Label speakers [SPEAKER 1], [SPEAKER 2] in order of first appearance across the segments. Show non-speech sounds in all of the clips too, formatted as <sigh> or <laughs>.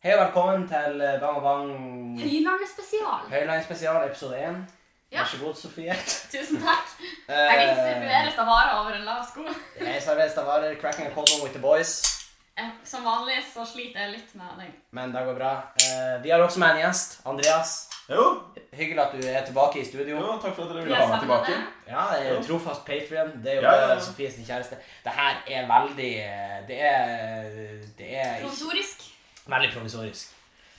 [SPEAKER 1] Hei og velkommen til eh, Bang og Bang
[SPEAKER 2] Høylandet spesial.
[SPEAKER 1] Høylandsspesial episode 1.
[SPEAKER 2] Ja.
[SPEAKER 1] Vær så god, Sofie.
[SPEAKER 2] Tusen takk. Jeg
[SPEAKER 1] Eh,
[SPEAKER 2] distribuerer Stavara over en lav sko.
[SPEAKER 1] Jeg serverer Stavarer, cracking a cold one with the boys.
[SPEAKER 2] Eh, Som vanlig så sliter jeg litt med den.
[SPEAKER 1] Men det går bra. Eh, Vi har også med en gjest. Andreas.
[SPEAKER 3] Jo,
[SPEAKER 1] Hyggelig at du er tilbake i
[SPEAKER 3] jo,
[SPEAKER 1] studio.
[SPEAKER 3] takk for at dere
[SPEAKER 2] Jeg
[SPEAKER 3] ville ha meg
[SPEAKER 2] savner
[SPEAKER 3] tilbake.
[SPEAKER 2] det.
[SPEAKER 1] Ja, jeg er trofast Patreon. Det er jo
[SPEAKER 3] Ja, ja, ja.
[SPEAKER 1] eh, Sofies kjæreste. Det her er veldig eh, Det er Det er ikke
[SPEAKER 2] Provisorisk.
[SPEAKER 1] Veldig provisorisk.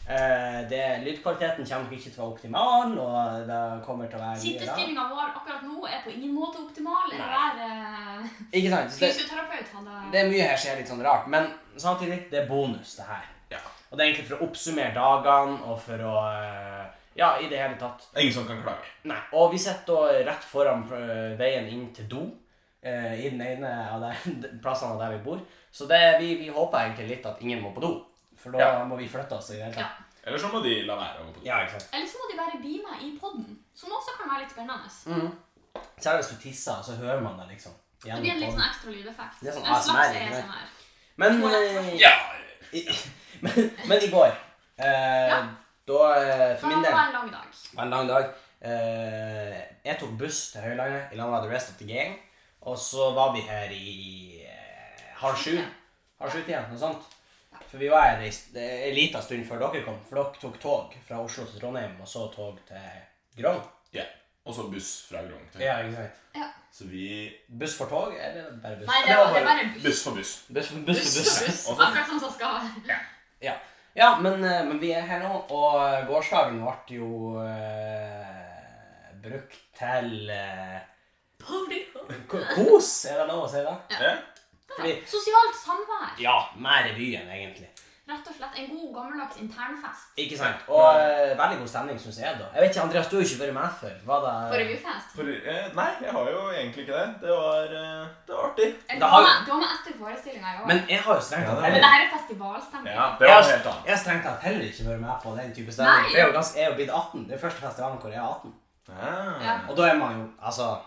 [SPEAKER 1] Eh, det, lydkvaliteten kommer nok ikke til å være optimal, og det kommer til å være mye rart.
[SPEAKER 2] Sittestyringa vår akkurat nå er på ingen måte optimal. Eller hver eh,
[SPEAKER 1] Ikke sant? Så det-
[SPEAKER 2] fysioterapeut
[SPEAKER 1] Det
[SPEAKER 2] hadde
[SPEAKER 1] er mye her som er litt sånn rart, men samtidig, det er bonus, det her.
[SPEAKER 3] Ja.
[SPEAKER 1] Og det er egentlig for å oppsummere dagene, og for å eh, Ja, i det hele tatt.
[SPEAKER 3] Ingen som kan klage.
[SPEAKER 1] Nei. Og vi sitter da rett foran eh, veien inn til do. eh, I den ene av <laughs> de plassene der vi bor. Så det, vi, vi håper egentlig litt at ingen må på do. For da
[SPEAKER 3] Ja.
[SPEAKER 1] må vi flytte oss. i det hele
[SPEAKER 2] Ja.
[SPEAKER 1] tatt.
[SPEAKER 3] Eller så må de la være å gå på do.
[SPEAKER 1] Ja, ikke sant?
[SPEAKER 2] Eller så må de være beama i poden, som også kan være litt spennende.
[SPEAKER 1] Særlig hvis du tisser, så hører man det liksom.
[SPEAKER 2] Det
[SPEAKER 1] gjennom
[SPEAKER 2] blir en litt
[SPEAKER 1] podden.
[SPEAKER 2] sånn ekstra lydeffekt.
[SPEAKER 1] Det er sånn
[SPEAKER 2] en
[SPEAKER 1] ASMR,
[SPEAKER 2] slags
[SPEAKER 1] ikke det?
[SPEAKER 2] ASMR.
[SPEAKER 1] Men, eh,
[SPEAKER 2] toalett.
[SPEAKER 3] Ja.
[SPEAKER 1] <laughs> i, men, men i går eh,
[SPEAKER 2] Ja.
[SPEAKER 1] Da, eh,
[SPEAKER 2] For
[SPEAKER 1] for min
[SPEAKER 2] det
[SPEAKER 1] del
[SPEAKER 2] var en lang dag.
[SPEAKER 1] Det var en lang dag. Eh, jeg tok buss til Høylandet i lag med the rest of the gang. Og så var vi her i eh, halv sju. Halv sju igjen, noe sånt. For vi var her i st- eh, en liten stund før dere kom. For dere tok tog fra Oslo til Trondheim, og så tog til Grong.
[SPEAKER 3] ja. Og så buss fra Grong. til-
[SPEAKER 1] Ja, ikke sant.
[SPEAKER 3] Så vi
[SPEAKER 1] Buss for tog, eller bare buss?
[SPEAKER 2] Nei, det
[SPEAKER 1] Det
[SPEAKER 2] var,
[SPEAKER 1] var
[SPEAKER 2] det
[SPEAKER 1] bare-
[SPEAKER 2] var en buss.
[SPEAKER 3] Buss for buss.
[SPEAKER 1] Buss for buss.
[SPEAKER 2] Buss,
[SPEAKER 1] for
[SPEAKER 2] buss,
[SPEAKER 1] buss.
[SPEAKER 3] Og så-
[SPEAKER 2] Akkurat sånn som skal være.
[SPEAKER 1] Ja, ja men, eh, men vi er her nå, og eh, gårsdagen ble jo eh, brukt til eh,
[SPEAKER 2] Party.
[SPEAKER 1] ko- kos, er det lov å si det?
[SPEAKER 3] Ja.
[SPEAKER 1] Fordi
[SPEAKER 2] Sosialt samvær.
[SPEAKER 1] Ja, mer revyen, egentlig.
[SPEAKER 2] Rett og slett en god, gammeldags internfest.
[SPEAKER 1] Ikke sant? Og eh, veldig god stemning, syns jeg. da. Jeg vet ikke, Andreas, du har ikke vært med før. Var det
[SPEAKER 2] På revyfest.
[SPEAKER 3] For, eh, nei, jeg har jo egentlig ikke det. Det var, eh, det var artig.
[SPEAKER 2] Jeg
[SPEAKER 1] Det
[SPEAKER 2] var
[SPEAKER 1] har-
[SPEAKER 2] med- Du var med etter forestillinga i år. Men,
[SPEAKER 1] Men jeg har jo strengt tatt
[SPEAKER 3] Ja,
[SPEAKER 2] det
[SPEAKER 1] heller,
[SPEAKER 2] her er festivalstemning.
[SPEAKER 3] Ja, det
[SPEAKER 1] jeg
[SPEAKER 3] var
[SPEAKER 1] har,
[SPEAKER 3] noe helt annet.
[SPEAKER 1] jeg har strengt tatt heller ikke vært med på den type stemning.
[SPEAKER 2] Nei.
[SPEAKER 1] For jeg er jo ganske, jeg er jo blitt 18. Det er første festivalen hvor jeg er 18.
[SPEAKER 3] Ah.
[SPEAKER 1] Og da er man jo altså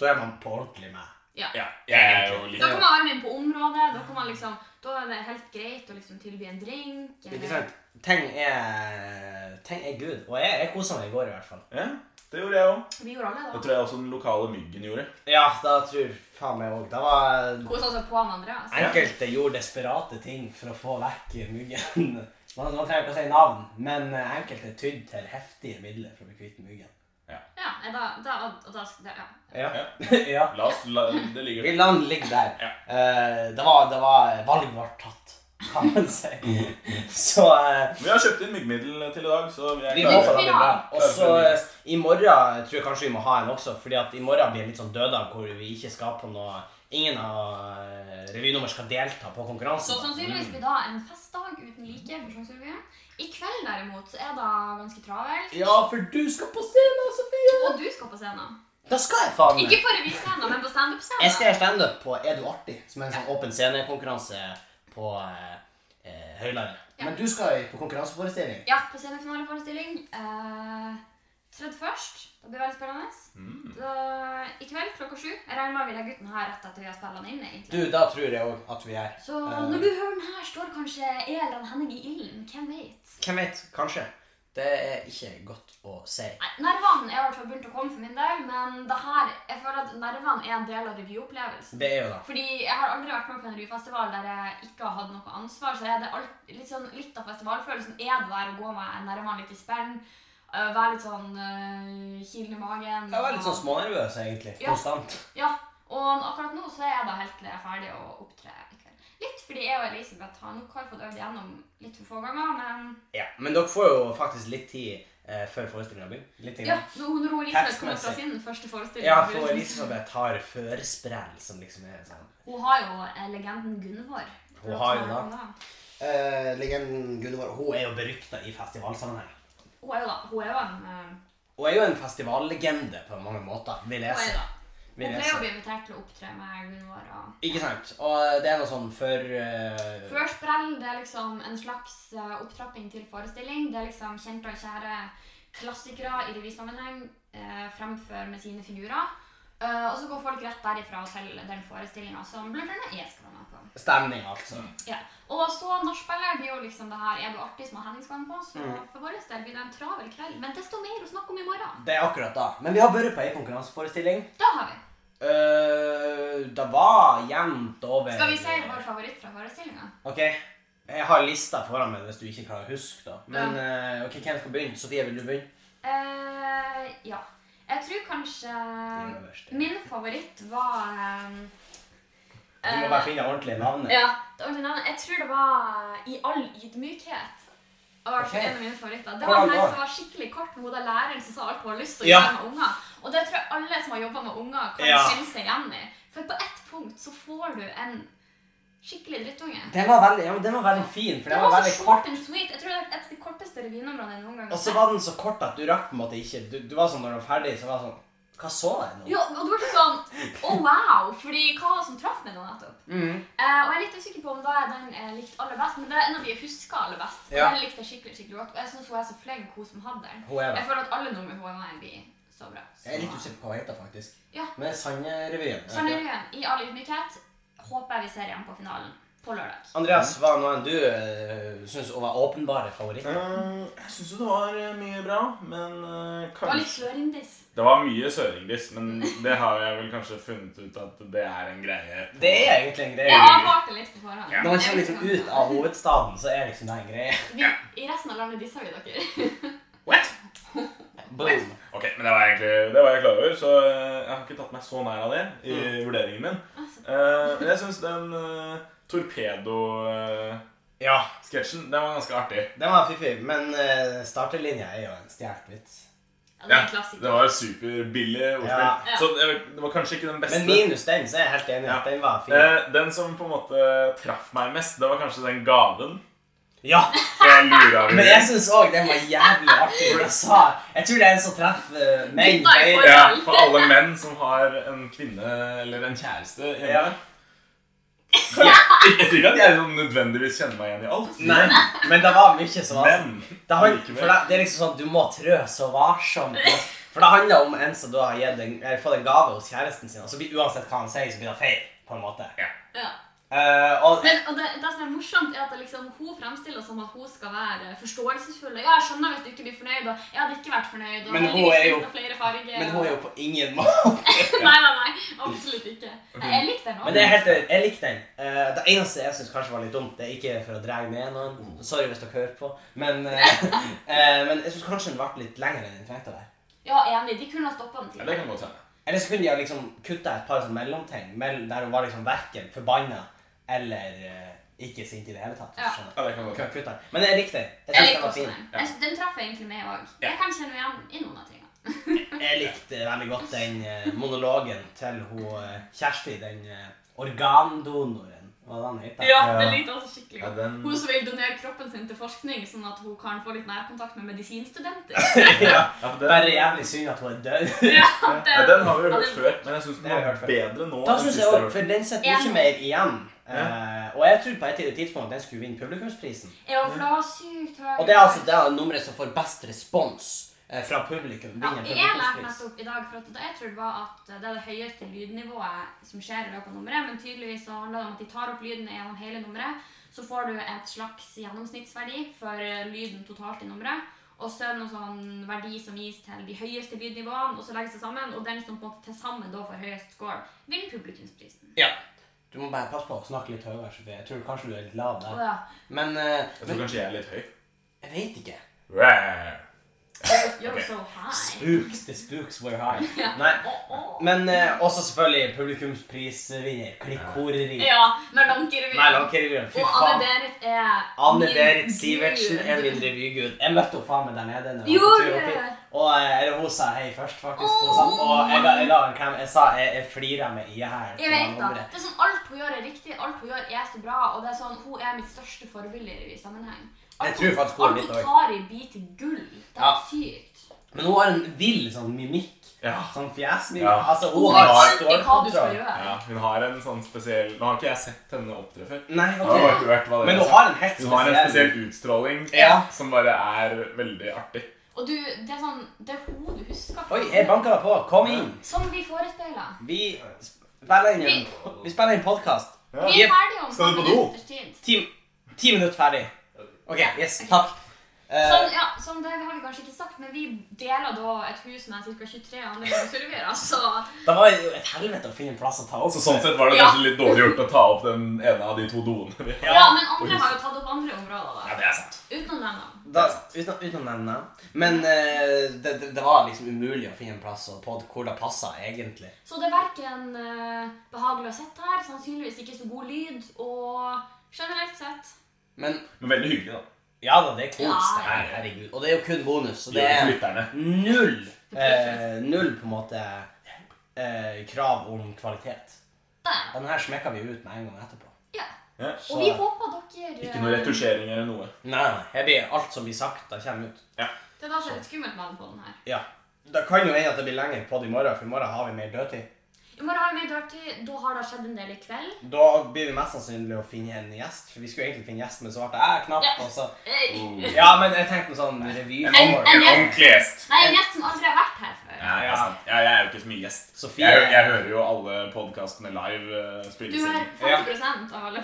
[SPEAKER 1] Da er man på ordentlig med.
[SPEAKER 3] Ja, jeg er jo
[SPEAKER 2] Da kan
[SPEAKER 3] litt
[SPEAKER 2] man være med på området. Da, kan man liksom, da er det helt greit å liksom tilby en drink. eller-
[SPEAKER 1] Ikke sant? Ting er Ting er good. Og jeg, jeg kosa meg i går, i hvert fall.
[SPEAKER 3] ja, Det gjorde jeg òg.
[SPEAKER 2] Vi gjorde alle
[SPEAKER 3] Det
[SPEAKER 2] det. da.
[SPEAKER 3] tror jeg også den lokale myggen gjorde.
[SPEAKER 1] Ja, da tror faen meg òg. Det var
[SPEAKER 2] Kosa oss på med Andreas.
[SPEAKER 1] Enkelte gjorde desperate ting for å få vekk muggen. <laughs> Man, man trenger ikke å si navn, men eh, enkelte tydde til heftige midler for å bli kvitt muggen.
[SPEAKER 2] Ja, nei, da, da, og da, da, ja.
[SPEAKER 1] Ja.
[SPEAKER 3] Ja.
[SPEAKER 1] <laughs> ja.
[SPEAKER 3] La oss la, Det ligger
[SPEAKER 1] Vi lar den ligge der.
[SPEAKER 3] Ja.
[SPEAKER 1] Eh, det, var, det var Valget ble tatt, kan man <laughs> si. Så eh,
[SPEAKER 3] Vi har kjøpt inn myggmiddel til i dag, så vi er
[SPEAKER 1] vi må få
[SPEAKER 3] klare.
[SPEAKER 1] det bra. Og så eh, i morgen tror jeg kanskje vi må ha en også, fordi at i morgen blir det litt sånn døddag hvor vi ikke skal på noe Ingen av eh, revynummer skal delta på konkurransen.
[SPEAKER 2] Så sannsynligvis blir da en festdag uten like for Sognsrevyen. I kveld derimot så er det ganske travelt.
[SPEAKER 1] Ja, for du skal på scenen, Sofie!
[SPEAKER 2] Og du skal på scenen.
[SPEAKER 1] Da skal jeg faen meg.
[SPEAKER 2] Ikke på revyscenen, men på
[SPEAKER 1] Jeg
[SPEAKER 2] standup-scenen.
[SPEAKER 1] skrev standup på Er du artig? som er en sånn åpen scenekonkurranse på eh, eh, Høylandet.
[SPEAKER 2] Ja.
[SPEAKER 1] Men du skal på konkurranseforestilling.
[SPEAKER 2] Ja, på semifinaleforestilling. Eh, Tredd først. Det blir veldig spennende.
[SPEAKER 3] Mm.
[SPEAKER 2] Da, I kveld klokka sju. Jeg regner med vi legger ut den her rett etter vi har spilt den inn. egentlig.
[SPEAKER 1] Du, da tror jeg òg at vi er
[SPEAKER 2] Så når du hører den her, står kanskje Elan Henning i ilden. Hvem vet?
[SPEAKER 1] Hvem vet? Kanskje. Det er ikke godt å si.
[SPEAKER 2] Nei, Nervene er i hvert fall begynt å komme for min del, men det her, jeg føler at nervene er en del av revyopplevelsen.
[SPEAKER 1] Det er jo det.
[SPEAKER 2] Fordi jeg har aldri vært med på en revyfestival der jeg ikke har hatt noe ansvar, så er det alt, litt, sånn, litt av festivalfølelsen er det der å gå med nervene litt i spenn, øh, være litt sånn øh, kilen i magen.
[SPEAKER 1] Jeg var litt sånn
[SPEAKER 2] og-
[SPEAKER 1] smånervøs, egentlig.
[SPEAKER 2] Ja.
[SPEAKER 1] Konstant.
[SPEAKER 2] Ja, og akkurat nå så er jeg da helt til jeg er ferdig å opptre i kveld. Litt fordi jeg og Elisabeth har nok har fått øvd igjennom litt for få ganger, men
[SPEAKER 1] Ja. Men dere får jo faktisk litt tid eh, før forestillinga begynner. Litt
[SPEAKER 2] ja,
[SPEAKER 1] grann.
[SPEAKER 2] nå når hun Elisabeth kommer fra
[SPEAKER 1] Tekstmessig.
[SPEAKER 2] sin første forestilling
[SPEAKER 1] Ja, for Elisabeth har førsprell, som liksom er sånn
[SPEAKER 2] Hun har jo eh, legenden Gunvor.
[SPEAKER 1] Hun har jo da eh, Legenden Gunvor Hun er jo berykta i festivalsammenheng.
[SPEAKER 2] Hun er jo da, hun er jo en eh,
[SPEAKER 1] Hun er jo en festivallegende på mange måter, vil jeg
[SPEAKER 2] Hun
[SPEAKER 1] si.
[SPEAKER 2] er da.
[SPEAKER 1] Vil
[SPEAKER 2] Hun
[SPEAKER 1] jeg
[SPEAKER 2] ble
[SPEAKER 1] si.
[SPEAKER 2] jo invitert til å opptre med Gunvor. og...
[SPEAKER 1] Ikke sant? Og det er noe sånn for eh,
[SPEAKER 2] Førsprell det er liksom en slags eh, opptrapping til forestilling. Det er liksom kjente og kjære klassikere i revysammenheng eh, fremfor med sine figurer. Eh, og så går folk rett derifra til den forestillinga som blant annet jeg skal være med på.
[SPEAKER 1] Stemning, altså.
[SPEAKER 2] Og så nachspielet blir jo liksom det her Er du artig som har Henningsvann på? Så
[SPEAKER 1] Mm.
[SPEAKER 2] for vår del blir det en travel kveld. Men desto mer å snakke om i morgen.
[SPEAKER 1] Det er akkurat da. Men vi har vært på ei konkurranseforestilling.
[SPEAKER 2] Da har vi.
[SPEAKER 1] Eh, det var jevnt over
[SPEAKER 2] Skal vi si vår favoritt fra forestillinga?
[SPEAKER 1] Ok, jeg har lista foran meg hvis du ikke klarer å huske, da. Men eh, ok, hvem skal begynne? Sofie, vil du begynne?
[SPEAKER 2] Eh, ja. Jeg tror kanskje
[SPEAKER 1] Din øverste.
[SPEAKER 2] min favoritt var ehm,
[SPEAKER 1] Du må bare finne ordentlige navn.
[SPEAKER 2] Eh, Ja, det ordentlige navnet. Jeg tror det var I all ydmykhet. Og hvert fall
[SPEAKER 1] Ok.
[SPEAKER 2] en av mine favoritter. Det var
[SPEAKER 1] Hvordan
[SPEAKER 2] den her
[SPEAKER 1] da?
[SPEAKER 2] som var skikkelig kort med hodet av læreren som sa alt hun har lyst til å
[SPEAKER 1] Ja.
[SPEAKER 2] gjøre med unger. Og det tror jeg alle som har jobba med unger, kan
[SPEAKER 1] Ja.
[SPEAKER 2] kjenne seg igjen i. For på ett punkt så får du en skikkelig drittunge.
[SPEAKER 1] Den var veldig, ja, men den var veldig fin, for
[SPEAKER 2] Det
[SPEAKER 1] den
[SPEAKER 2] var
[SPEAKER 1] var
[SPEAKER 2] så
[SPEAKER 1] veldig kort.
[SPEAKER 2] short and sweet. Jeg tror det er et av de korteste revynomrene jeg noen gang
[SPEAKER 1] Og så var den så kort at du rakk på en måte ikke Du, du var sånn når du var ferdig, så var det sånn Hva så jeg nå?
[SPEAKER 2] Jo, og du ble sånn Å, wow! Fordi hva var det som traff meg nå nettopp?
[SPEAKER 1] Mhm.
[SPEAKER 2] Eh, og jeg er litt usikker på om da er den jeg likte aller best, men det er en av de jeg husker aller best. Og
[SPEAKER 1] Ja.
[SPEAKER 2] Den likte jeg skikkelig skikkelig godt, og jeg synes hun er så flink, hun som hadde den.
[SPEAKER 1] Hun er
[SPEAKER 2] Jeg
[SPEAKER 1] det.
[SPEAKER 2] føler at alle nummer hun er med i, blir så bra. Så.
[SPEAKER 1] Jeg er litt usikker på hva hun heter, faktisk.
[SPEAKER 2] Ja.
[SPEAKER 1] Men det er Sandrevyen. er det
[SPEAKER 2] Sanne
[SPEAKER 1] ikke det?
[SPEAKER 2] Røen, i all ydmykhet, håper jeg vi ser igjen på finalen på lørdag.
[SPEAKER 1] Andreas, hva er noen du uh, syns var åpenbare favoritter?
[SPEAKER 3] Eh, jeg syns jo det var eh, mye bra, men eh,
[SPEAKER 2] Det var litt
[SPEAKER 3] kanskje
[SPEAKER 2] sørindisk.
[SPEAKER 4] Det var mye søringdiss, men det har jeg vel kanskje funnet ut at det er en greie. på-
[SPEAKER 1] Det er egentlig en
[SPEAKER 2] Jeg
[SPEAKER 1] greie.
[SPEAKER 2] advarte litt på forhånd.
[SPEAKER 4] Ja.
[SPEAKER 1] Når man kommer liksom ut av hovedstaden, så er liksom det en greie.
[SPEAKER 2] Vi, I resten av landet disser vi dere. <laughs>
[SPEAKER 4] What?
[SPEAKER 1] Boom.
[SPEAKER 4] Ok, men det var egentlig
[SPEAKER 3] Det var jeg klar over, så eh, jeg har ikke tatt meg så nær av det i vurderingen min.
[SPEAKER 2] Altså,
[SPEAKER 3] Eh, men jeg syns den eh, torpedo-sketsjen,
[SPEAKER 1] Ja.
[SPEAKER 3] den var ganske artig.
[SPEAKER 1] Den var fiffig, men eh, starterlinja er jo en stjålet vits.
[SPEAKER 2] ja, det er
[SPEAKER 3] Ja,
[SPEAKER 2] en klassiker.
[SPEAKER 3] Det var jo superbillig ordspill.
[SPEAKER 1] Ja.
[SPEAKER 2] Ja.
[SPEAKER 3] Så det, det var kanskje ikke den beste.
[SPEAKER 1] Men minus den, så er jeg helt enig. i
[SPEAKER 3] Ja.
[SPEAKER 1] at Den var fin.
[SPEAKER 3] Eh, den som på en måte traff meg mest, det var kanskje den gaven.
[SPEAKER 2] <laughs>
[SPEAKER 1] Ja,
[SPEAKER 4] Jeg lurer av
[SPEAKER 1] Men jeg syns òg den var jævlig artig. for Jeg, sa, jeg tror det er en som treffer eh, menn
[SPEAKER 2] Gutta i
[SPEAKER 1] høyre.
[SPEAKER 2] forhold.
[SPEAKER 3] Ja, for alle menn som har en kvinne eller en kjæreste
[SPEAKER 1] Ja.
[SPEAKER 3] hjemme.
[SPEAKER 4] <laughs>
[SPEAKER 3] Jeg sier ikke at jeg sånn nødvendigvis kjenner meg igjen i alt.
[SPEAKER 1] Nei, men det var mye som var
[SPEAKER 3] Men
[SPEAKER 1] det, han,
[SPEAKER 3] likevel.
[SPEAKER 1] for det, det er liksom sånn du må trø så varsomt. og- For det handler om en som da har gitt en, eller fått en gave hos kjæresten sin, og så blir uansett hva han sier, så blir det feil. på en måte.
[SPEAKER 2] Ja.
[SPEAKER 1] Eh, og
[SPEAKER 2] Men og det, det som er morsomt, er at det liksom, hun fremstiller som at hun skal være forståelsesfull. Ja, jeg skjønner hvis du ikke blir fornøyd, og jeg hadde ikke vært fornøyd. Og
[SPEAKER 1] Men hun
[SPEAKER 2] heldigvis
[SPEAKER 1] er jo-
[SPEAKER 2] finnes det flere farger.
[SPEAKER 1] Men hun er jo på ingen måte
[SPEAKER 2] Nei, nei, nei. Absolutt ikke. Nei, jeg likte den
[SPEAKER 1] Men det er
[SPEAKER 2] også.
[SPEAKER 1] helt, jeg likte den. Eh, det eneste jeg syns kanskje var litt dumt, det er ikke for å dra ned noen Sorry hvis dere hører på, men, eh, <laughs> eh, men jeg syns kanskje den ble litt lengre enn den trengte å være.
[SPEAKER 2] Ja, enig. De kunne ha stoppet den
[SPEAKER 3] ja, det
[SPEAKER 2] til.
[SPEAKER 3] kan godt hende.
[SPEAKER 1] Eller så kunne de ha liksom kutta et par sånn mellomting mell- der hun var liksom verken forbanna eller eh, ikke sint i det hele tatt. hvis
[SPEAKER 2] Ja.
[SPEAKER 1] du skjønner.
[SPEAKER 3] Ja, det kan godt
[SPEAKER 1] Kunne
[SPEAKER 3] hende.
[SPEAKER 1] ha kuttet den. Men jeg likte den. Jeg syns
[SPEAKER 2] Jeg
[SPEAKER 1] den
[SPEAKER 2] likte
[SPEAKER 1] var
[SPEAKER 2] også
[SPEAKER 1] fin.
[SPEAKER 2] den. Jeg, den traff jeg egentlig meg òg. Jeg kan kjenne meg igjen i noen av tingene.
[SPEAKER 1] Jeg likte veldig godt den eh, monologen til hun eh, Kjersti, den eh, organdonoren. Hva var det han het?
[SPEAKER 2] Ja,
[SPEAKER 3] Ja.
[SPEAKER 2] jeg likte også skikkelig
[SPEAKER 3] Ja,
[SPEAKER 2] godt.
[SPEAKER 3] den...
[SPEAKER 2] Hun som vil donere kroppen sin til forskning, sånn at hun kan få litt nærkontakt med
[SPEAKER 1] <laughs>
[SPEAKER 2] medisinstudenter.
[SPEAKER 1] ja.
[SPEAKER 3] Ja, for den,
[SPEAKER 1] Bare jævlig synd at hun er død.
[SPEAKER 2] Ja, det,
[SPEAKER 3] ja, den har vi jo
[SPEAKER 2] Ja,
[SPEAKER 3] hørt
[SPEAKER 2] den-
[SPEAKER 3] før, men jeg syns den
[SPEAKER 1] Det har vi
[SPEAKER 3] var
[SPEAKER 1] hørt før.
[SPEAKER 3] bedre nå
[SPEAKER 1] Da
[SPEAKER 3] enn
[SPEAKER 1] synes
[SPEAKER 3] sist
[SPEAKER 1] jeg
[SPEAKER 3] jeg
[SPEAKER 1] også,
[SPEAKER 3] hørte.
[SPEAKER 1] for Den setter mye
[SPEAKER 2] Enig.
[SPEAKER 1] mer igjen.
[SPEAKER 3] Ja.
[SPEAKER 1] Eh, og jeg tror på et tidlig tidspunkt at den skulle vinne publikumsprisen.
[SPEAKER 2] Ja, for det var sykt høy.
[SPEAKER 1] Og det er altså det er nummeret som får best respons eh, fra publikum.
[SPEAKER 2] Ja,
[SPEAKER 1] vinner
[SPEAKER 2] jeg lærte
[SPEAKER 1] publikumspris.
[SPEAKER 2] nettopp i dag, for at det jeg trodde var at det er det høyeste lydnivået som skjer i løpet av nummeret, men tydeligvis så handler det om at de tar opp lyden gjennom hele nummeret, så får du et slags gjennomsnittsverdi for eh, lyden totalt i nummeret, og så er det noen sånn verdi som gis til de høyeste lydnivåene, og så legges det sammen, og den som på en måte til sammen da får høyest score, vinner publikumsprisen.
[SPEAKER 1] Du må bare passe på å snakke litt høyere. Sofie. Jeg tror kanskje du er litt lav
[SPEAKER 2] Å
[SPEAKER 1] der.
[SPEAKER 2] ja.
[SPEAKER 1] Men, eh,
[SPEAKER 3] Jeg tror
[SPEAKER 1] men
[SPEAKER 3] kanskje jeg er litt høy.
[SPEAKER 1] jeg vet ikke.
[SPEAKER 2] You're so high.
[SPEAKER 1] Spooks, the spooks were high.
[SPEAKER 2] Ja.
[SPEAKER 1] Nei,
[SPEAKER 2] Åh, åh.
[SPEAKER 1] men eh, også selvfølgelig publikumsprisvinner. Klikkhoreri.
[SPEAKER 2] Ja,
[SPEAKER 1] Nei,
[SPEAKER 2] Merdankerevyen.
[SPEAKER 1] langkirurgen. Fy
[SPEAKER 2] Og Anne
[SPEAKER 1] faen.
[SPEAKER 2] Berit er min
[SPEAKER 1] Anne-Berit
[SPEAKER 2] gud.
[SPEAKER 1] Sivertsen er min revygud. Jeg møtte henne faen meg der nede. når jeg var på
[SPEAKER 2] Gjorde
[SPEAKER 1] tur
[SPEAKER 2] du
[SPEAKER 1] opp hit.
[SPEAKER 2] det?
[SPEAKER 1] Og eh, eller hun sa hei først, faktisk. Hun sa, og jeg, ga- jeg la en klem. Jeg sa jeg, jeg flirer med i her.
[SPEAKER 2] Jeg vet da. Det er sånn, Alt hun gjør, er riktig. Alt hun gjør, er så bra. Og det er sånn, Hun er mitt største forbilde i sammenheng.
[SPEAKER 1] Jeg tror faktisk hun er
[SPEAKER 2] alt
[SPEAKER 1] mitt
[SPEAKER 2] hun
[SPEAKER 1] også.
[SPEAKER 2] tar i, blir til gull. Det er
[SPEAKER 1] Ja.
[SPEAKER 2] sykt.
[SPEAKER 1] Men hun har en vill sånn mimikk.
[SPEAKER 3] Ja.
[SPEAKER 1] Sånn fjesmimikk.
[SPEAKER 3] Ja.
[SPEAKER 1] Altså, hun
[SPEAKER 2] Hun
[SPEAKER 1] har
[SPEAKER 2] vet alltid hva du skal
[SPEAKER 1] stålkontroll.
[SPEAKER 2] gjøre.
[SPEAKER 3] Ja, hun har en sånn spesiell Nå har ikke jeg sett henne opptre før.
[SPEAKER 1] Nei,
[SPEAKER 3] Jeg har
[SPEAKER 1] ok.
[SPEAKER 3] ikke hørt hva det
[SPEAKER 1] Men
[SPEAKER 3] er.
[SPEAKER 1] hun har en helt
[SPEAKER 3] Hun har en
[SPEAKER 1] spesiell
[SPEAKER 3] spesiell utstråling
[SPEAKER 1] Ja.
[SPEAKER 3] som bare er veldig artig.
[SPEAKER 2] Og du, det er sånn, det er hun du husker.
[SPEAKER 1] Oi, jeg banka deg på. Kom inn.
[SPEAKER 2] Som vi forespeila.
[SPEAKER 1] Vi spiller inn en, vi spiller inn podkast.
[SPEAKER 3] Ja.
[SPEAKER 2] Vi er ferdige om
[SPEAKER 3] Skal du på
[SPEAKER 2] fem
[SPEAKER 3] do?
[SPEAKER 2] minutters tid.
[SPEAKER 1] Ti, ti minutter ferdig. OK. Yes. Takk. Eh,
[SPEAKER 2] Sånn, ja, sånn, det har vi kanskje ikke sagt, men vi deler da et hus med ca. 23 andre konserverer, så
[SPEAKER 1] det var jo et helvete å finne en plass å ta opp.
[SPEAKER 4] Så sånn sett var det
[SPEAKER 2] Ja.
[SPEAKER 4] kanskje litt dårlig gjort å ta opp den ene av de to doene. vi har.
[SPEAKER 2] ja. men andre har jo tatt opp andre områder, da.
[SPEAKER 4] det er sant.
[SPEAKER 2] Uten å nevne dem.
[SPEAKER 1] Da, uten, uten å nevne Men eh, det, det, det var liksom umulig å finne en plass og på hvor det passa, egentlig.
[SPEAKER 2] Så det er verken eh, behagelig å sitte her, sannsynligvis ikke så god lyd, og generelt sett
[SPEAKER 1] Men
[SPEAKER 4] Men veldig hyggelig, da.
[SPEAKER 1] ja da, det er kos.
[SPEAKER 2] Ja,
[SPEAKER 1] det her, herregud. Og det er jo kun bonus. Så
[SPEAKER 4] Det
[SPEAKER 1] det er
[SPEAKER 4] Lytterne.
[SPEAKER 1] null eh, Null på en måte eh, krav om kvalitet.
[SPEAKER 2] der.
[SPEAKER 1] Den her smekka vi ut med en gang etterpå.
[SPEAKER 2] Ja.
[SPEAKER 4] Ja.
[SPEAKER 1] Så,
[SPEAKER 2] Og vi håper dere eh,
[SPEAKER 4] Ikke noe retusjering eller noe.
[SPEAKER 1] Nei, nei, her blir alt som blir sagt, da kommer ut.
[SPEAKER 2] Det er da så litt skummelt med den podden her.
[SPEAKER 1] Ja. Det kan jo hende at det blir lenger på det i morgen, for i morgen har vi mer dødtid.
[SPEAKER 2] I morgen har vi mer dørtid. Da har det skjedd en del i kveld.
[SPEAKER 1] Da blir vi mest sannsynlig å finne en gjest, for vi skulle egentlig finne gjest, men så ble det jeg knapt,
[SPEAKER 2] Ja.
[SPEAKER 1] og så
[SPEAKER 2] Eh,
[SPEAKER 4] Oh.
[SPEAKER 1] Ja, men jeg tenkte noe sånn revy.
[SPEAKER 4] En,
[SPEAKER 2] En-
[SPEAKER 4] en, en ordentlig gjest.
[SPEAKER 2] Nei, en gjest som aldri har vært her før.
[SPEAKER 4] Ja, det er sant. ja, jeg er jo ikke så mye gjest.
[SPEAKER 1] Sofie
[SPEAKER 4] Jeg, jeg hører jo alle podkastene live eh,
[SPEAKER 2] Du
[SPEAKER 4] spilles
[SPEAKER 2] har
[SPEAKER 4] inn.
[SPEAKER 2] 50 av alle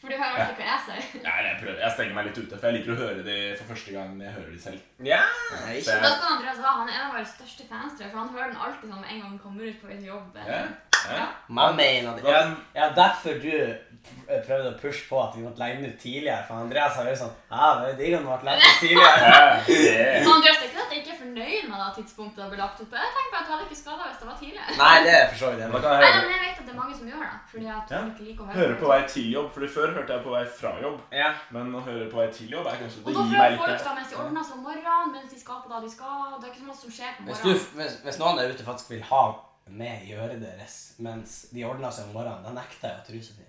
[SPEAKER 2] For du hører alltid hva jeg sier.
[SPEAKER 4] Ja, jeg, prøver. jeg stenger meg litt ute, for jeg liker å høre de for første gang jeg hører de selv.
[SPEAKER 1] Ja, ikke
[SPEAKER 4] Så
[SPEAKER 2] Da
[SPEAKER 4] jeg,
[SPEAKER 2] skal Andreas være han er en av våre største fans, tror jeg, for han hører den alltid sånn med en gang han kommer ut på vei til jobb.
[SPEAKER 4] ja, ja.
[SPEAKER 1] Man mener det. Ja,
[SPEAKER 4] Da-
[SPEAKER 1] ja, derfor du pr- eh, prøvde å pushe på at vi måtte legge den ut tidligere. For Andreas har jo sånn Ja, det er digg om det ble lagt ut tidligere.
[SPEAKER 4] Ja, det-
[SPEAKER 2] Så Andreas, det er ikke at jeg ikke er fornøyd med det tidspunktet det ble lagt ut på. Jeg tenker bare at jeg hadde ikke skada hvis det var tidligere.
[SPEAKER 1] <laughs> Nei, det er for så vidt
[SPEAKER 4] Da
[SPEAKER 1] enig.
[SPEAKER 4] kan
[SPEAKER 2] Nei,
[SPEAKER 4] jeg høre,
[SPEAKER 2] men jeg vet at det er mange som gjør det, fordi at
[SPEAKER 4] Ja.
[SPEAKER 2] folk liker å høre
[SPEAKER 4] høre på vei til jobb, Fordi før hørte jeg på vei fra jobb.
[SPEAKER 1] Ja.
[SPEAKER 4] Men å høre på vei til jobb er kanskje
[SPEAKER 2] Og
[SPEAKER 4] det
[SPEAKER 2] da
[SPEAKER 4] gir meg
[SPEAKER 2] prøver folk
[SPEAKER 4] litt
[SPEAKER 2] da mens de ordner seg om morgenen, mens de skal på da de skal. Det er ikke så mye som skjer på
[SPEAKER 1] Hvis, du,
[SPEAKER 2] morgenen.
[SPEAKER 1] hvis, hvis noen der ute faktisk vil ha med i øret deres mens de ordner seg om morgenen, da nekter jeg å truse til.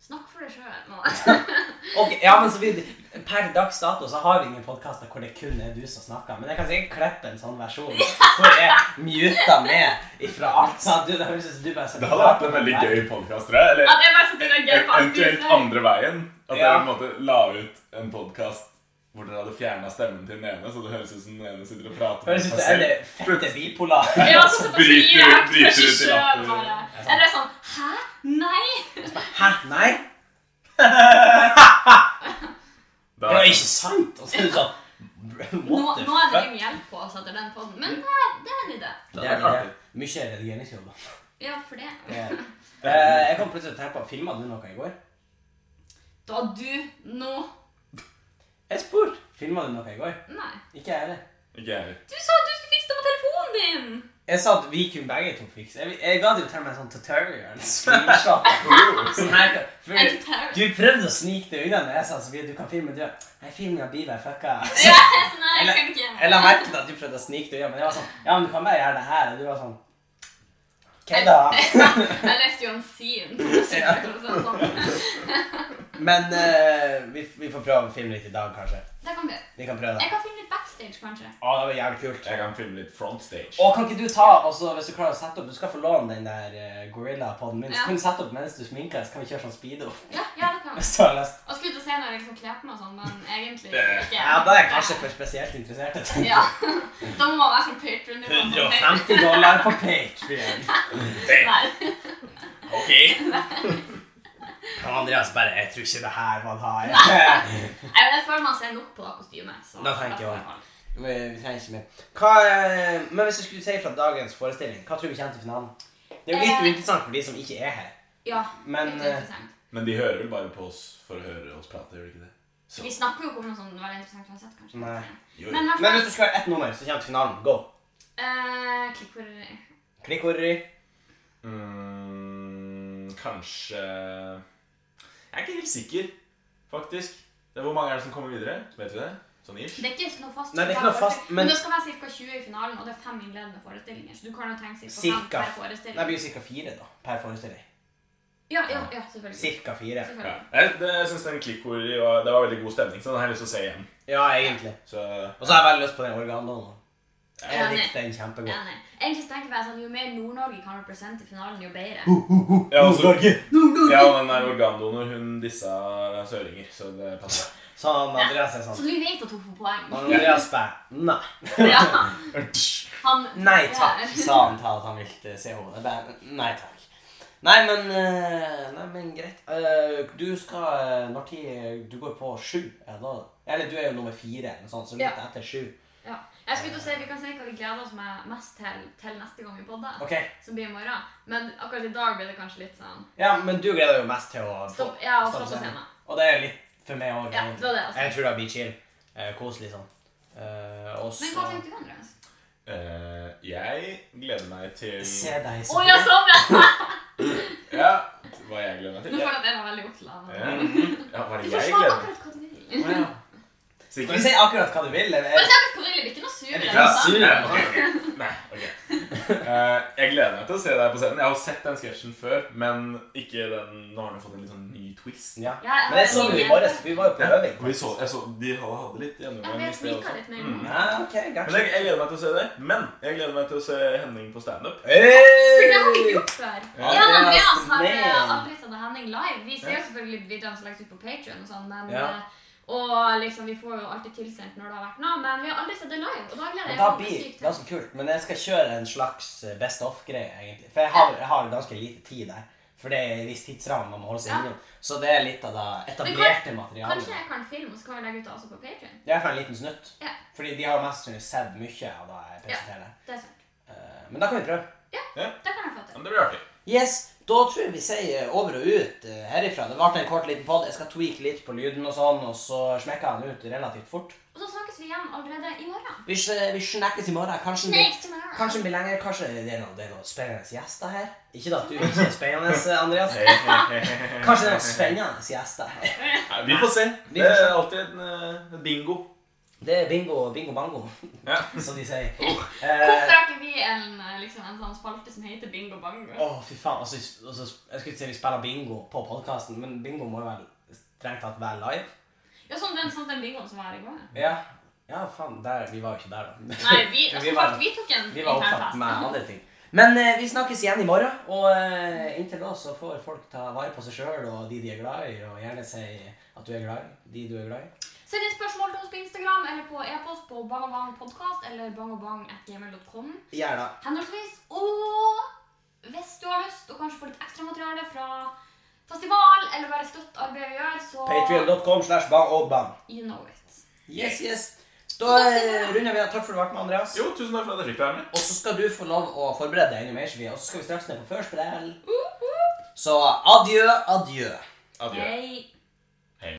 [SPEAKER 2] Snakk for deg <laughs> sjøl.
[SPEAKER 1] Ok, ja, men så vidt, Per dags dato så har vi ingen podkaster hvor det kun er du som snakker. Men jeg kan sikkert klippe en sånn
[SPEAKER 2] <laughs>
[SPEAKER 1] versjon hvor jeg muter med ifra alt. Sånn at du, det høres ut som du bare
[SPEAKER 4] Det hadde vært en veldig gøy podkast, tror jeg. Eller
[SPEAKER 2] At jeg bare sitter og gøy på alt du
[SPEAKER 4] eventuelt
[SPEAKER 2] sier.
[SPEAKER 4] andre veien. At dere
[SPEAKER 1] Ja.
[SPEAKER 4] på en måte la ut en podkast hvor dere hadde fjerna stemmen til den ene, så det høres ut som den ene sitter og prater
[SPEAKER 1] Høres ut som en fette bipolar.
[SPEAKER 2] <laughs> Ja, altså. så sitter
[SPEAKER 4] Bryter-
[SPEAKER 2] jeg og sier
[SPEAKER 4] bryter
[SPEAKER 2] det
[SPEAKER 4] ut i
[SPEAKER 2] selv,
[SPEAKER 4] latter.
[SPEAKER 2] bare. Eller sånn Hæ? Nei?
[SPEAKER 1] Hæ? Nei? Det var ikke sant! Og så er det sånn
[SPEAKER 2] Nå,
[SPEAKER 1] What the
[SPEAKER 2] nå er det
[SPEAKER 1] fuck?
[SPEAKER 2] mye hjelp på oss etter den podden, men det, det er en idé.
[SPEAKER 1] Det er det. Mye redigeringsjobb. da.
[SPEAKER 2] Ja, for det.
[SPEAKER 1] Eh, Jeg kom plutselig til å tenke på Filma du noe i går?
[SPEAKER 2] Da du nå
[SPEAKER 1] Jeg spurte. Filma du noe i går?
[SPEAKER 2] Nei.
[SPEAKER 1] Ikke jeg heller.
[SPEAKER 4] Ikke jeg heller.
[SPEAKER 2] Du sa at du skulle fikse det på telefonen din!
[SPEAKER 1] Jeg sa at vi kunne begge to fikse. Jeg, jeg ga det jo til meg en sånn tutorial. en Screenshot. Sånn her, for
[SPEAKER 2] En tutorial.
[SPEAKER 1] du prøvde å snike det unna når jeg sa så mye. Du kan filme, du. Nei, filmen av Bieber fucka.
[SPEAKER 2] Ja, så nei, jeg kan ikke.
[SPEAKER 1] Jeg la merke til at du prøvde å snike det unna, men jeg var sånn Ja, men du kan bare gjøre det her. Og du var sånn Ok,
[SPEAKER 2] <laughs>
[SPEAKER 1] da.
[SPEAKER 2] I left you on scene.
[SPEAKER 1] <laughs>
[SPEAKER 2] for å si det sånn.
[SPEAKER 1] Men eh, vi, vi får prøve å filme litt i dag, kanskje.
[SPEAKER 2] Det kan bli.
[SPEAKER 1] Vi kan prøve det.
[SPEAKER 2] Jeg kan filme litt backstage, kanskje.
[SPEAKER 1] Å, det var jævlig kult.
[SPEAKER 4] Jeg kan filme litt front stage.
[SPEAKER 1] Og kan ikke du ta, altså, hvis du klarer å sette opp, du skal få låne den der eh, gorilla-podden min, så
[SPEAKER 2] Ja.
[SPEAKER 1] kan du sette opp mens du sminker, så kan vi kjøre sånn speedo. <laughs>
[SPEAKER 2] Ja, ja, det kan vi.
[SPEAKER 1] Hvis du har lyst.
[SPEAKER 2] Og skulle ut og se når jeg liksom kler på meg og sånn, men egentlig
[SPEAKER 4] Det-
[SPEAKER 2] ikke.
[SPEAKER 1] Ja, da er jeg kanskje for spesielt interessert. jeg <laughs> tenker.
[SPEAKER 2] Ja. <laughs> Da må man være sånn patron-nivå. sånn.
[SPEAKER 1] 150 dollar på Patreon.
[SPEAKER 2] Nei.
[SPEAKER 4] Ok.
[SPEAKER 1] Kan Andreas bare, jeg tror ikke det her man har.
[SPEAKER 2] Nei, men jeg føler man ser nok på det kostymet. så-
[SPEAKER 1] Da tenker jeg også. Vi, vi trenger ikke mer. Hva, eh, men hvis du skulle si fra dagens forestilling, hva tror vi kommer til finalen? Det er jo litt
[SPEAKER 2] Eh.
[SPEAKER 1] uinteressant for de som ikke er her.
[SPEAKER 2] Ja,
[SPEAKER 1] Men,
[SPEAKER 2] litt
[SPEAKER 1] eh,
[SPEAKER 2] interessant.
[SPEAKER 4] Men de hører vel bare på oss for å høre oss prate, gjør de ikke det? Så.
[SPEAKER 2] Vi snakker jo ikke om noe sånn veldig interessant uansett, kanskje.
[SPEAKER 1] Nei.
[SPEAKER 4] Jo,
[SPEAKER 2] Men
[SPEAKER 4] jo.
[SPEAKER 2] i hvert
[SPEAKER 1] Men
[SPEAKER 2] fall
[SPEAKER 1] hvis du skal ha ett nummer, så kommer til finalen. Go.
[SPEAKER 2] eh, Klikk hvor Nei,
[SPEAKER 1] Klikk orri.
[SPEAKER 4] Mm, kanskje Jeg er ikke helt sikker, faktisk. Det er Hvor mange er det som kommer videre? Vet vi det? Sånn ish?
[SPEAKER 2] Det er ikke noe fast.
[SPEAKER 1] Nei, det er ikke noe fast, men-
[SPEAKER 2] men det skal være ca. 20 i finalen, og det er fem innledende forestillinger. Så du kan jo trenge ca. fem
[SPEAKER 1] Cirka.
[SPEAKER 2] per
[SPEAKER 1] Nei,
[SPEAKER 2] forestilling.
[SPEAKER 1] det blir jo cirka fire da, per forestilling.
[SPEAKER 2] Ja, ja, ja, selvfølgelig.
[SPEAKER 1] Cirka fire.
[SPEAKER 4] Ja.
[SPEAKER 2] selvfølgelig.
[SPEAKER 4] Jeg, det, jeg syns den klikkordet var, det var veldig god stemning, så den har jeg lyst til å se igjen.
[SPEAKER 1] Ja, egentlig.
[SPEAKER 4] Så
[SPEAKER 1] Og så har jeg veldig lyst på den organdonalen. Jeg
[SPEAKER 2] Enig.
[SPEAKER 1] likte den kjempegodt.
[SPEAKER 2] Enig. Egentlig så tenker jeg sånn, Jo mer Nord-Norge kan represente i finalen, jo bedre.
[SPEAKER 1] Uh,
[SPEAKER 4] Ja, og så-
[SPEAKER 1] Nord-Norge!
[SPEAKER 4] Ja, og den der organdonor, hun dissa søringer, så det passer.
[SPEAKER 1] Sånn Andreas er
[SPEAKER 2] Så
[SPEAKER 1] sånn.
[SPEAKER 2] du vet at hun får poeng.
[SPEAKER 1] Og Andreas bare Nei.
[SPEAKER 2] <laughs> Ja. Han
[SPEAKER 1] <laughs> Nei takk, sa han til at han ville se henne. Jeg bare Nei takk. Nei, men, eh, nei, men greit. Eh, Du skal eh, Når tid Du går på sju? Er det da? Eller du er jo nummer fire, eller noe sånt, så litt
[SPEAKER 2] Ja.
[SPEAKER 1] etter sju.
[SPEAKER 2] Ja. Jeg skulle til å si, Vi kan si hva vi gleder oss med mest til, til neste gang vi podder,
[SPEAKER 1] Ok,
[SPEAKER 2] som blir i morgen. Men akkurat i dag blir det kanskje litt sånn
[SPEAKER 1] ja, Men du gleder deg jo mest til å
[SPEAKER 2] Stopp, ja, og stå på scenen.
[SPEAKER 1] Og det er litt for meg òg.
[SPEAKER 2] Ja, det var det, altså.
[SPEAKER 1] Jeg tror det blir chill. Eh, Koselig sånn. Eh, Og
[SPEAKER 2] Men hva
[SPEAKER 1] så
[SPEAKER 2] tenkte du, Andreas?
[SPEAKER 4] Eh, jeg gleder meg til
[SPEAKER 1] Se deg,
[SPEAKER 2] Å ja, sånn! ja! <laughs>
[SPEAKER 4] Ja, hva jeg gleder meg
[SPEAKER 2] Nå
[SPEAKER 4] til?
[SPEAKER 2] føler jeg at jeg var veldig opptatt.
[SPEAKER 4] Ja, ja hva er
[SPEAKER 2] Du
[SPEAKER 4] det jeg
[SPEAKER 2] forsvarer
[SPEAKER 4] gleder meg
[SPEAKER 2] akkurat hva du vil.
[SPEAKER 1] Å, ja. Du
[SPEAKER 4] Sikkert?
[SPEAKER 1] kan si akkurat hva du vil. eller-
[SPEAKER 2] Men det er akkurat hva du vil, vi er ikke noe
[SPEAKER 1] Er
[SPEAKER 2] sure.
[SPEAKER 1] du
[SPEAKER 2] eller
[SPEAKER 1] ikke
[SPEAKER 2] noe sånt.
[SPEAKER 1] sur?
[SPEAKER 4] Ja, ok, ok. Nei, ok. Eh, jeg gleder meg til å se deg på scenen. Jeg har sett den sketsjen før, men ikke den Nå har den fått en litt sånn ny twist.
[SPEAKER 1] Ja.
[SPEAKER 2] Ja,
[SPEAKER 1] Men det så vi i morges. Vi var jo på øving.
[SPEAKER 4] Og vi så, jeg så, de hadde, hadde litt
[SPEAKER 2] Ja,
[SPEAKER 4] gjennomgang
[SPEAKER 2] vi
[SPEAKER 4] i sted
[SPEAKER 2] snika
[SPEAKER 4] også.
[SPEAKER 2] litt mer.
[SPEAKER 4] Mm.
[SPEAKER 1] Ja, ok,
[SPEAKER 4] Men
[SPEAKER 1] kanskje.
[SPEAKER 4] jeg, jeg gleder meg til å se det. Men jeg gleder meg til å se Henning på standup.
[SPEAKER 2] For det har vi ikke
[SPEAKER 1] Hey!
[SPEAKER 2] gjort før.
[SPEAKER 4] Ja,
[SPEAKER 2] Jan Andreas har
[SPEAKER 1] Andreas
[SPEAKER 2] eh,
[SPEAKER 1] Neen.
[SPEAKER 2] aldri sett Henning live. Vi ser jo
[SPEAKER 4] Ja.
[SPEAKER 2] selvfølgelig videoene som legges ut på Patreon og sånn, men
[SPEAKER 1] Ja.
[SPEAKER 2] eh, Og liksom, vi får jo alltid tilsendt når det har vært noe, men vi har aldri sett det live. Og da
[SPEAKER 1] Og
[SPEAKER 2] gleder jeg
[SPEAKER 1] Da
[SPEAKER 2] meg
[SPEAKER 1] blir
[SPEAKER 2] sykt
[SPEAKER 1] det ganske kult, men jeg skal kjøre en slags eh, best off-greie, egentlig. For jeg har, jeg har ganske lite tid der. For det er en viss tidsramme man må holde seg
[SPEAKER 2] Ja.
[SPEAKER 1] innom. Så det er litt av det etablerte materialet.
[SPEAKER 2] Kanskje jeg kan filme, og så kan vi legge ut det også på Patreon.
[SPEAKER 1] Det er for en liten snutt.
[SPEAKER 2] Ja.
[SPEAKER 1] Fordi de har jo mest sannsynlig sett mye av det jeg presenterer.
[SPEAKER 2] Det er sant.
[SPEAKER 1] Eh, Men da kan vi prøve.
[SPEAKER 2] Det kan jeg få
[SPEAKER 4] Ja,
[SPEAKER 2] til.
[SPEAKER 4] men det blir artig.
[SPEAKER 1] Yes, da tror jeg vi sier over og ut eh, herifra. Det ble en kort liten pod. Jeg skal tweake litt på lyden og sånn, og så smekker jeg den ut relativt fort.
[SPEAKER 2] Og så snakkes vi igjen allerede i morgen.
[SPEAKER 1] Vi, sn- vi snakkes i morgen. Kanskje vi
[SPEAKER 2] Next tomorrow.
[SPEAKER 1] Kanskje det blir lenger, kanskje det er noen, det er noen spennende gjester her. Ikke at du ikke er spennende, Andreas.
[SPEAKER 4] Hei, hei, hei, hei, hei.
[SPEAKER 1] Kanskje det er noen spennende gjester her.
[SPEAKER 4] Nei, Vi får se.
[SPEAKER 1] Vi
[SPEAKER 4] Det
[SPEAKER 1] får se.
[SPEAKER 4] er alltid en eh, bingo.
[SPEAKER 1] Det er bingo, bingo bango,
[SPEAKER 4] Ja.
[SPEAKER 1] som de sier.
[SPEAKER 2] Hvorfor
[SPEAKER 1] Eh,
[SPEAKER 2] har ikke vi en, eh, liksom, en sånn spalte som heter Bingo Bango?
[SPEAKER 1] Å, fy faen. Altså, altså, jeg skulle ikke si vi spiller bingo på podkasten, men bingo må jo være strengt tatt være live.
[SPEAKER 2] Ja, sånn den, sånn den bingoen som var her i
[SPEAKER 1] <laughs>
[SPEAKER 2] går.
[SPEAKER 1] Ja, ja faen. Der, vi var jo ikke der, da.
[SPEAKER 2] Nei, vi,
[SPEAKER 1] Vi
[SPEAKER 2] altså,
[SPEAKER 1] var-
[SPEAKER 2] faktisk, vi tok en
[SPEAKER 1] <laughs> Vi var
[SPEAKER 2] intern
[SPEAKER 1] opptatt
[SPEAKER 2] fest.
[SPEAKER 1] med andre ting. Men eh, vi snakkes igjen i morgen, og eh, inntil da så får folk ta vare på seg sjøl og de de er glad i, og gjerne si at du er glad i de du er glad i.
[SPEAKER 2] Send inn spørsmål til oss på Instagram eller på e-post på bangabangpodkast eller bangabang.gmail.com
[SPEAKER 1] Gjerne.
[SPEAKER 2] henholdsvis. Og hvis du har lyst og kanskje får litt ekstramateriale fra festival eller bare støtt arbeidet vi gjør, så
[SPEAKER 1] Patreon.com slash bang og bang.
[SPEAKER 2] You know it.
[SPEAKER 1] Yes, yes. Da eh, runder vi av. Takk for at du har vært med, Andreas.
[SPEAKER 4] Jo, tusen takk for at jeg fikk være med.
[SPEAKER 1] Og så skal du få lov å forberede deg enda mer, Sofie, og så skal vi straks ned på førspill. Så adjø, adjø.
[SPEAKER 4] Adjø.
[SPEAKER 2] Hei.